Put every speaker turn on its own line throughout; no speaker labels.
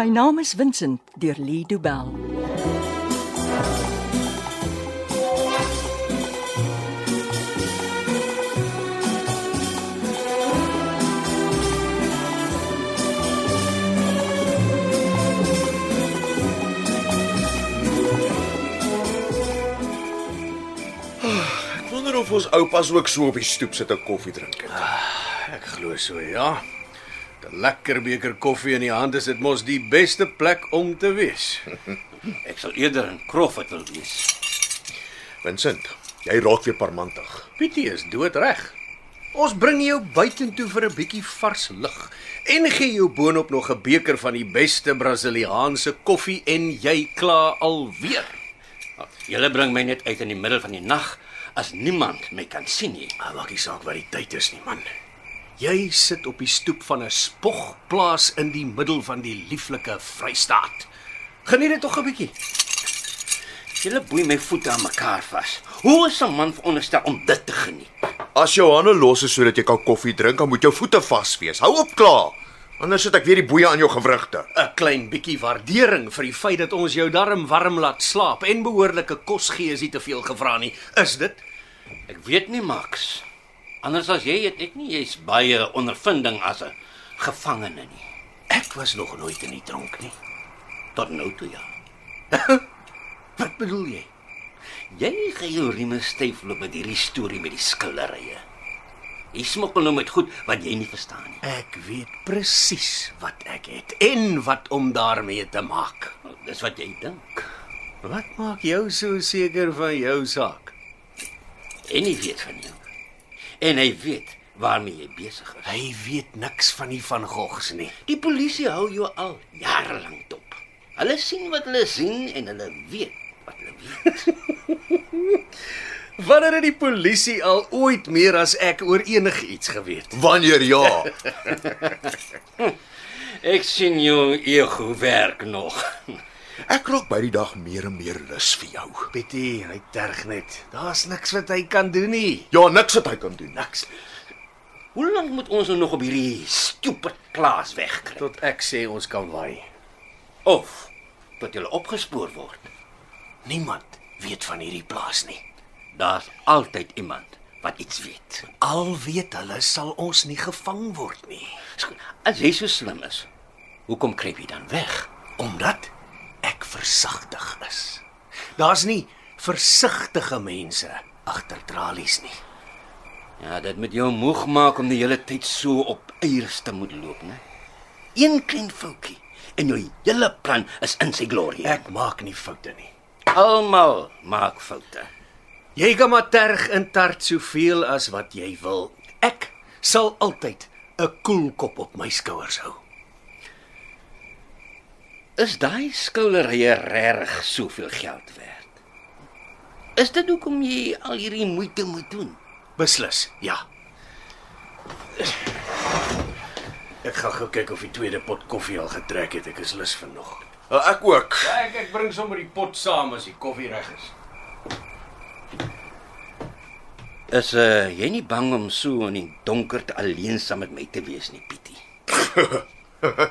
My naam is Vincent deur Lee Du Bell.
Ek wonder of ons oupas ook so op die stoep sit en koffie drink. het.
Ek glo so, ja. 'n Lekker beker koffie in die hand is dit mos die beste plek om te wees.
Ek sal eerder in Crawford wil wees.
Vincent, jy raak weer parmantig.
Pietie is doodreg. Ons bring jou buitentoe vir 'n bietjie vars lug en gee jou boonop nog 'n beker van die beste Brasiliaanse koffie en jy klaar alweer.
Ah, Julle bring my net uit in die middel van die nag as niemand my kan sien nie.
Maar Ah, maak nie saak wat die tyd is nie, man. Jy sit op die stoep van 'n spogplaas in die middel van die lieflike Vrystaat. Geniet dit tog 'n bietjie.
Julle boei my voete aan mekaar vas. Hoe is 'n man veronderstel om dit te geniet?
As jou hande los is sodat jy kan koffie drink, dan moet jou voete vas wees. Hou op klaar. Anders sit ek weer die boeie aan jou gewrigte.
'n klein bietjie waardering vir die feit dat ons jou darm warm laat slaap en behoorlike kos gee is nie te veel gevra nie. Is dit?
Ek weet nie, Max. Anders as jy het ek nie jy's baie ondervinding as 'n gevangene nie.
Ek was nog nooit in die dronk nie.
Tot nou toe ja.
Wat bedoel jy?
Jy gaan jou rieme styf loop met hierdie storie met die skilderye. Jy smokkel nou met goed wat jy nie verstaan nie.
Ek weet presies wat ek het en wat om daarmee te maak.
Nou, Dis wat jy dink.
Wat maak jou so seker van jou saak?
En hy weet van jou. En hy weet waarmee jy besig is.
Hy weet niks van die van Gogs nie.
Die polisie hou jou al jare lank dop. Hulle sien wat hulle sien en hulle weet wat hulle weet.
Wanneer het die polisie al ooit meer as ek oor enigiets geweet?
Wanneer ja,
Ek sien jou ego werk nog.
ek raak by die dag meer en meer lus vir jou.
Pietie, hy terg net. Daar's niks wat hy kan doen nie.
Ja, niks wat hy kan doen.
Niks
Hoe lank moet ons nou nog op hierdie stupid plaas wegkry?
tot ek sê ons kan waai.
Of tot jy opgespoor word.
Niemand weet van hierdie plaas nie.
Daar's altyd iemand wat iets weet.
Al weet hulle sal ons nie gevang word nie,
Skoon, As jy so slim is, hoekom kruip jy dan weg?
omdat ek versigtig is. Daar's nie versigtige mense agter tralies nie.
Ja, dit moet jou moeg maak om die hele tyd so op eiers te moet loop, né? Een klein foutjie en jou hele plan is in sy glorie.
Ek maak nie foute nie.
almal maak foute.
Jy kan maar terg en tart soveel as wat jy wil. Ek sal altyd 'n koel kop op my skouers hou.
Is daai skoulerye regtig soveel geld werd? Is dit hoekom jy al hierdie moeite moet doen?
Beslis, ja. Ek gaan gou kyk of die tweede pot koffie al getrek het. Ek is lus vir nog.
Uh, Ek ook.
Ek ek bring sommer die pot saam as die koffie reg is.
Is uh, jy nie bang om so in die donker te alleen saam met my te wees nie, Pietie?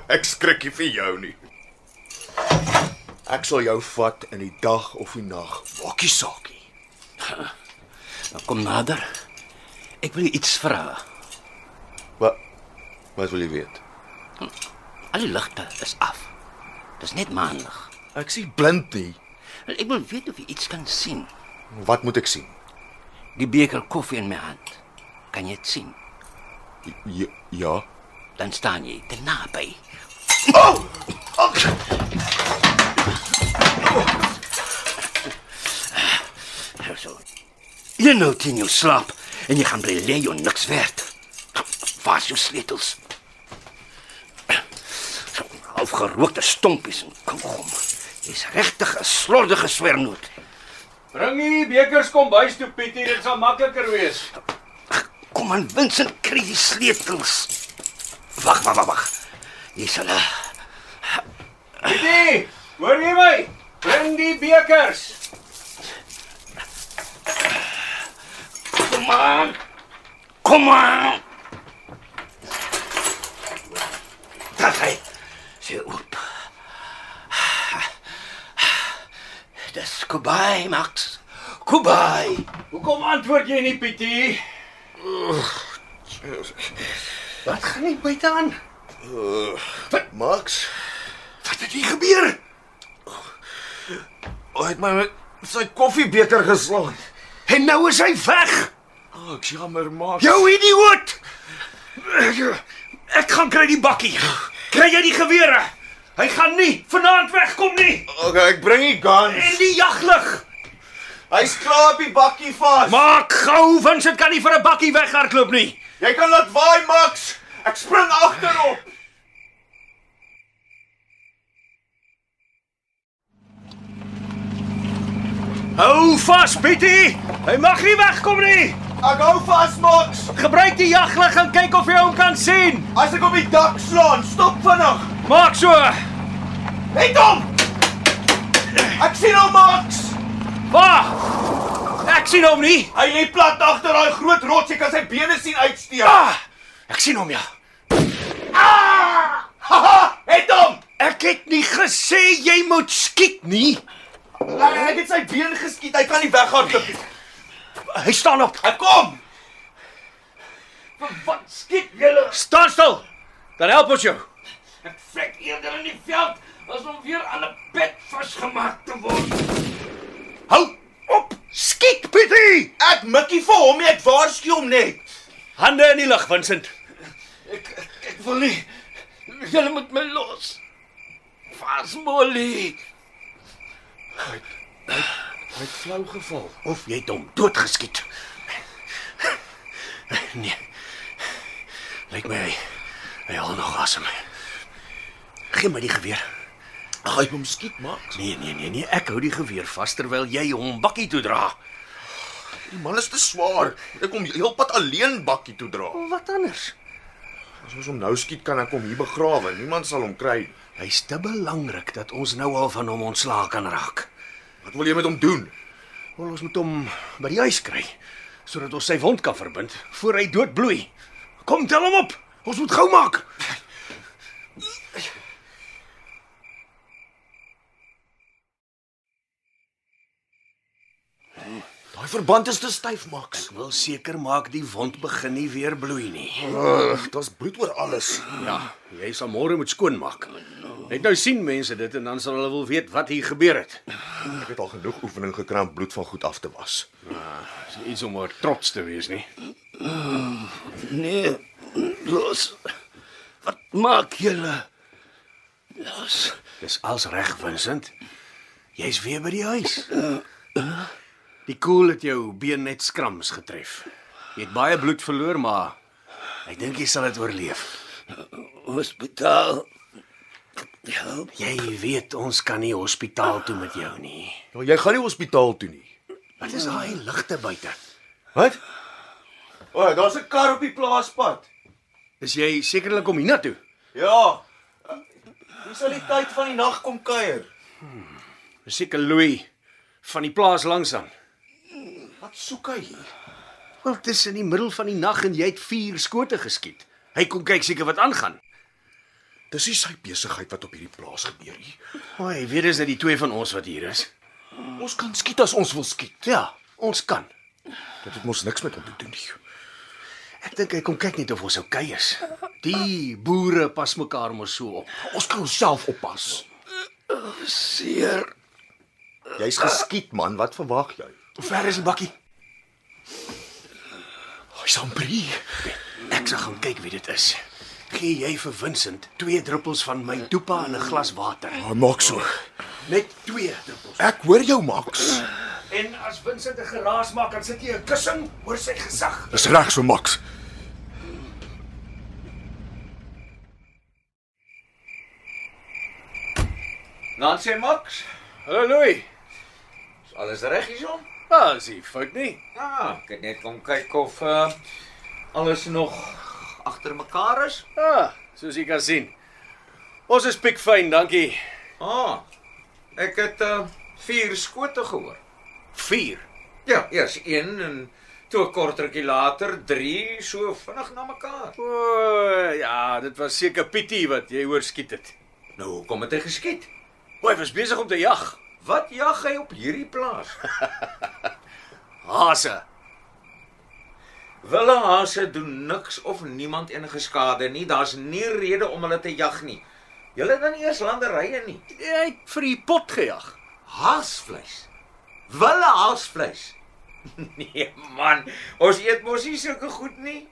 ek skrik nie vir jou nie. Ek sal jou vat in die dag of die nag. Maakie saakie.
Nou kom nader. Ek wil jou iets vra.
Wat wat wil jy weet?
Al die ligte is af. Dis net maandag.
Ek sien blind nie.
Wel, Ek wil weet of jy iets kan sien.
Wat moet ek sien?
Die beker koffie in my hand. Kan jy dit sien?
Ja. ja.
Dan staan jy te naby. Oh! Oh! So. Jy nou teen jou slaap en jy gaan bly lê jou niks werd. Waar is jou sleutels? So, afgerookte stompies en kougom. Jy's regtig 'n slordige swernoot.
Bring die bekers kom bys toe Pietie, dit sal makliker wees.
Kom aan Vincent, kry die sleutels. Wag, wag, wag, wag. Hier is hulle.
Pietie, hoor jy my? Bring die bekers.
Kom aan. Kom aan. Daar hy. Sy oop. Dis Kobai, Max. Kobai.
Hoekom antwoord jy nie, Pietie? Wat gaan nie buite aan?
Max,
Wat het hier gebeur?
hy het my met sy koffiebeker geslaan.
En nou is hy weg.
Oh, ek jammer, Max.
Jou idioot! Ek gaan kry die bakkie. Kry jy die gewere? Hy gaan nie vanaand wegkom nie.
okay, ek bring die
En
guns.
die jaglig.
Hy's klaar op die bakkie vas.
Maak gou, want dit kan nie vir 'n bakkie weghardloop nie.
Jy kan laat waai, Max. Ek spring agterop.
Hou vas, Pietie. Hy mag nie wegkom nie.
Ek hou vas, Max.
Gebruik die jaglig en kyk of jy hom kan sien.
As ek op die dak slaan, stop vinnig.
Maak so.
Net hom. Ek sien hom, Max.
Wag. Ek sien hom nie.
Hy lê plat agter daai groot rots. Jy kan sy bene sien uitsteek.
Ah, ek sien hom ja.
Haha, het hom.
Ek het nie gesê jy moet skiet nie.
Ek, ek het sy been geskiet. Hy kan nie weghardloop nie.
Hy staan op.
Ek kom. Wat skiet julle?
Staan stil. Dan help ons jou.
Ek vrek eerder in die veld as om weer aan 'n bed vasgemaak te word.
Hou op. Skiet, Pietie.
Ek mikkie vir hom, ek waarsku hom net.
Hande in die lug, Vincent.
Ek ek, ek wil nie. Julle moet my los. Vas Molly.
Flou geval. Of jy het hom doodgeskiet. Nee. Lyk my hy hy haal nog asem. Gee my die geweer.
Gaan hom skiet, Max.
Nee, nee, nee, nee, ek hou die geweer vas terwyl jy hom bakkie toe dra.
Die man is te swaar. Ek kom heelpad alleen bakkie toe dra.
Wat anders?
As ons hom nou skiet, kan ek hom hier begrawe. Niemand sal hom kry.
Hy's te belangrik dat ons nou al van hom ontslae kan raak.
Wat wil jy met hom doen?
Wel, ons moet hom by die huis kry sodat ons sy wond kan verbind voor hy doodbloei. Kom tel hom op. Ons moet gou maak.
Daai verband is te styf, Max.
Ek wil seker maak die wond begin nie weer bloei nie.
Ugh, daar's bloed oor alles.
Ja, jy sal môre moet skoonmaak.
Oh,
Net nou sien mense dit en dan sal hulle wil weet wat hier gebeur het.
Ek het al genoeg oefening gekry om bloed van goed af te was.
Dis iets om oor trots te wees nie.
Nee. Los. Wat maak julle? Los.
Dis als reg, Vincent. Jy's weer by die huis. Die koel het jou been net skrams getref. Jy het baie bloed verloor, maar ek dink jy sal dit oorleef.
Hospitaal. Help.
Jy weet ons kan nie hospitaal toe met jou nie.
Nou jy gaan nie hospitaal toe nie.
Wat is daai ligte buite?
Wat? O, oh, daar's 'n kar op die plaaspad.
Is jy sekerlik om hiernatoe?
Ja. Dis al die tyd van die nag kom kuier.
Dis seker Louis van die plaas langs aan.
Wat soek hy hier?
Wel, dit is in die middel van die nag en jy het vier skote geskiet. Hy kom kyk seker wat aangaan.
Dis nie sy besigheid wat op hierdie plaas gebeur nie.
O, hy weet dis dat die twee van ons wat hier is.
Ons kan skiet as ons wil skiet.
Ja, ons kan.
Dit het mos niks met hom te doen nie.
Ek dink hy kom kyk net of ons oukei okay is. Die boere pas mekaar mos so op.
Ons kan onsself oppas.
Seer.
Jy's geskiet man, wat verwag jy?
Hoe ver is die bakkie?
Hy's amper hier.
Ek sal gaan kyk wie dit is. Gee jy vir Vincent twee druppels van my toepa in 'n glas water.
Hy maak so.
Net twee druppels.
Ek hoor jou Max.
En as Vincent 'n geraas maak, dan sit jy 'n kussing oor sy gesig.
Dis reg so Max.
Dan sê Max,
Hallo Louis.
is alles reg hierson?
Ah, is hy fout nie?
Ja, ek het net kom kyk of uh, alles nog agter mekaar is.
Ah, soos jy kan sien. Ons is piekfyn, dankie.
Ah. Ek het uh, vier skote gehoor.
4.
Ja, eers een en toe 'n kort rukkie later 3 so vinnig na mekaar.
O, ja, dit was seker Pietie wat jy hoor skiet het.
Nou hoekom het hy geskiet?
O, hy was besig om te jag.
Wat jag hy op hierdie plaas?
Hase.
Wilde hase doen niks of niemand enige skade nie. Daar's nie rede om hulle te jag nie. Julle het dan nie eers landerye nie.
Jy het vir die pot gejag.
Haasvleis. Wilde haasvleis. Nee man, ons eet mos nie sulke goed nie.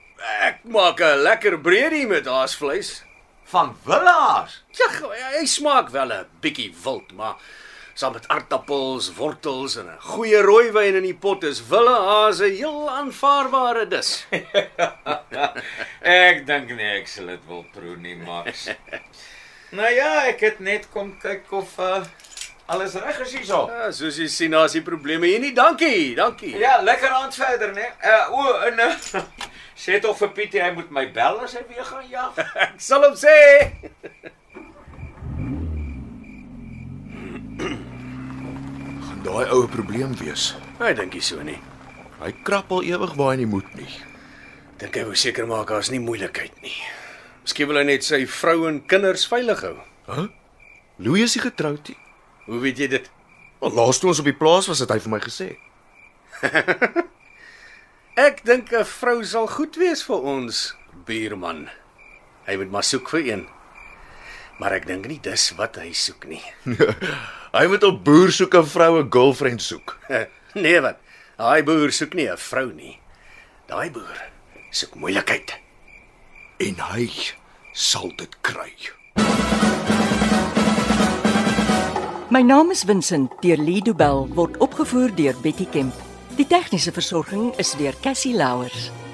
Ek maak 'n lekker breedie met haasvleis.
Van wilde haas.
Jag, Ja, hy smaak wel 'n bietjie wild, maar saam met aartappels, wortels en 'n goeie rooiwyn in die pot is wille haas 'n heel aanvaarbare dis.
Ek dink nie ek sal dit wil proe nie, Max. nou ja, ek het net kom kyk of uh, alles reg is hierso.
Ja, soos jy sien, daar's nie probleme hier nie. Dankie, dankie.
Ja, lekker aand verder, né? Uh o, en uh, sê tog vir Pietie hy moet my bel as hy weer gaan jag.
Ek sal hom sê.
Gaan daai ou 'n probleem wees.
Ek dink nie so nie.
Hy krap al ewig waar hy nie moet nie.
Dink hy wou seker maak daar's nie moeilikheid nie. Miskien wil hy net sy vrou en kinders veilig hou.
Hæ? Louis is nie getroud nie.
Hoe weet jy dit?
Want laas toe ons op die plaas was, het hy vir my gesê.
Ek dink 'n vrou sal goed wees vir ons buurman. Hy moet maar soek vir een. Maar ek dink nie dis wat hy soek nie.
Hy moet op boer soek 'n vroue girlfriend soek.
nee wat? Daai boer soek nie 'n vrou nie. Daai boer soek moeilikheid.
En hy sal dit kry.
My naam is Vincent deur Lido Bell word opgevoer deur Betty Kemp. Die tegniese versorging is deur Cassie Louers.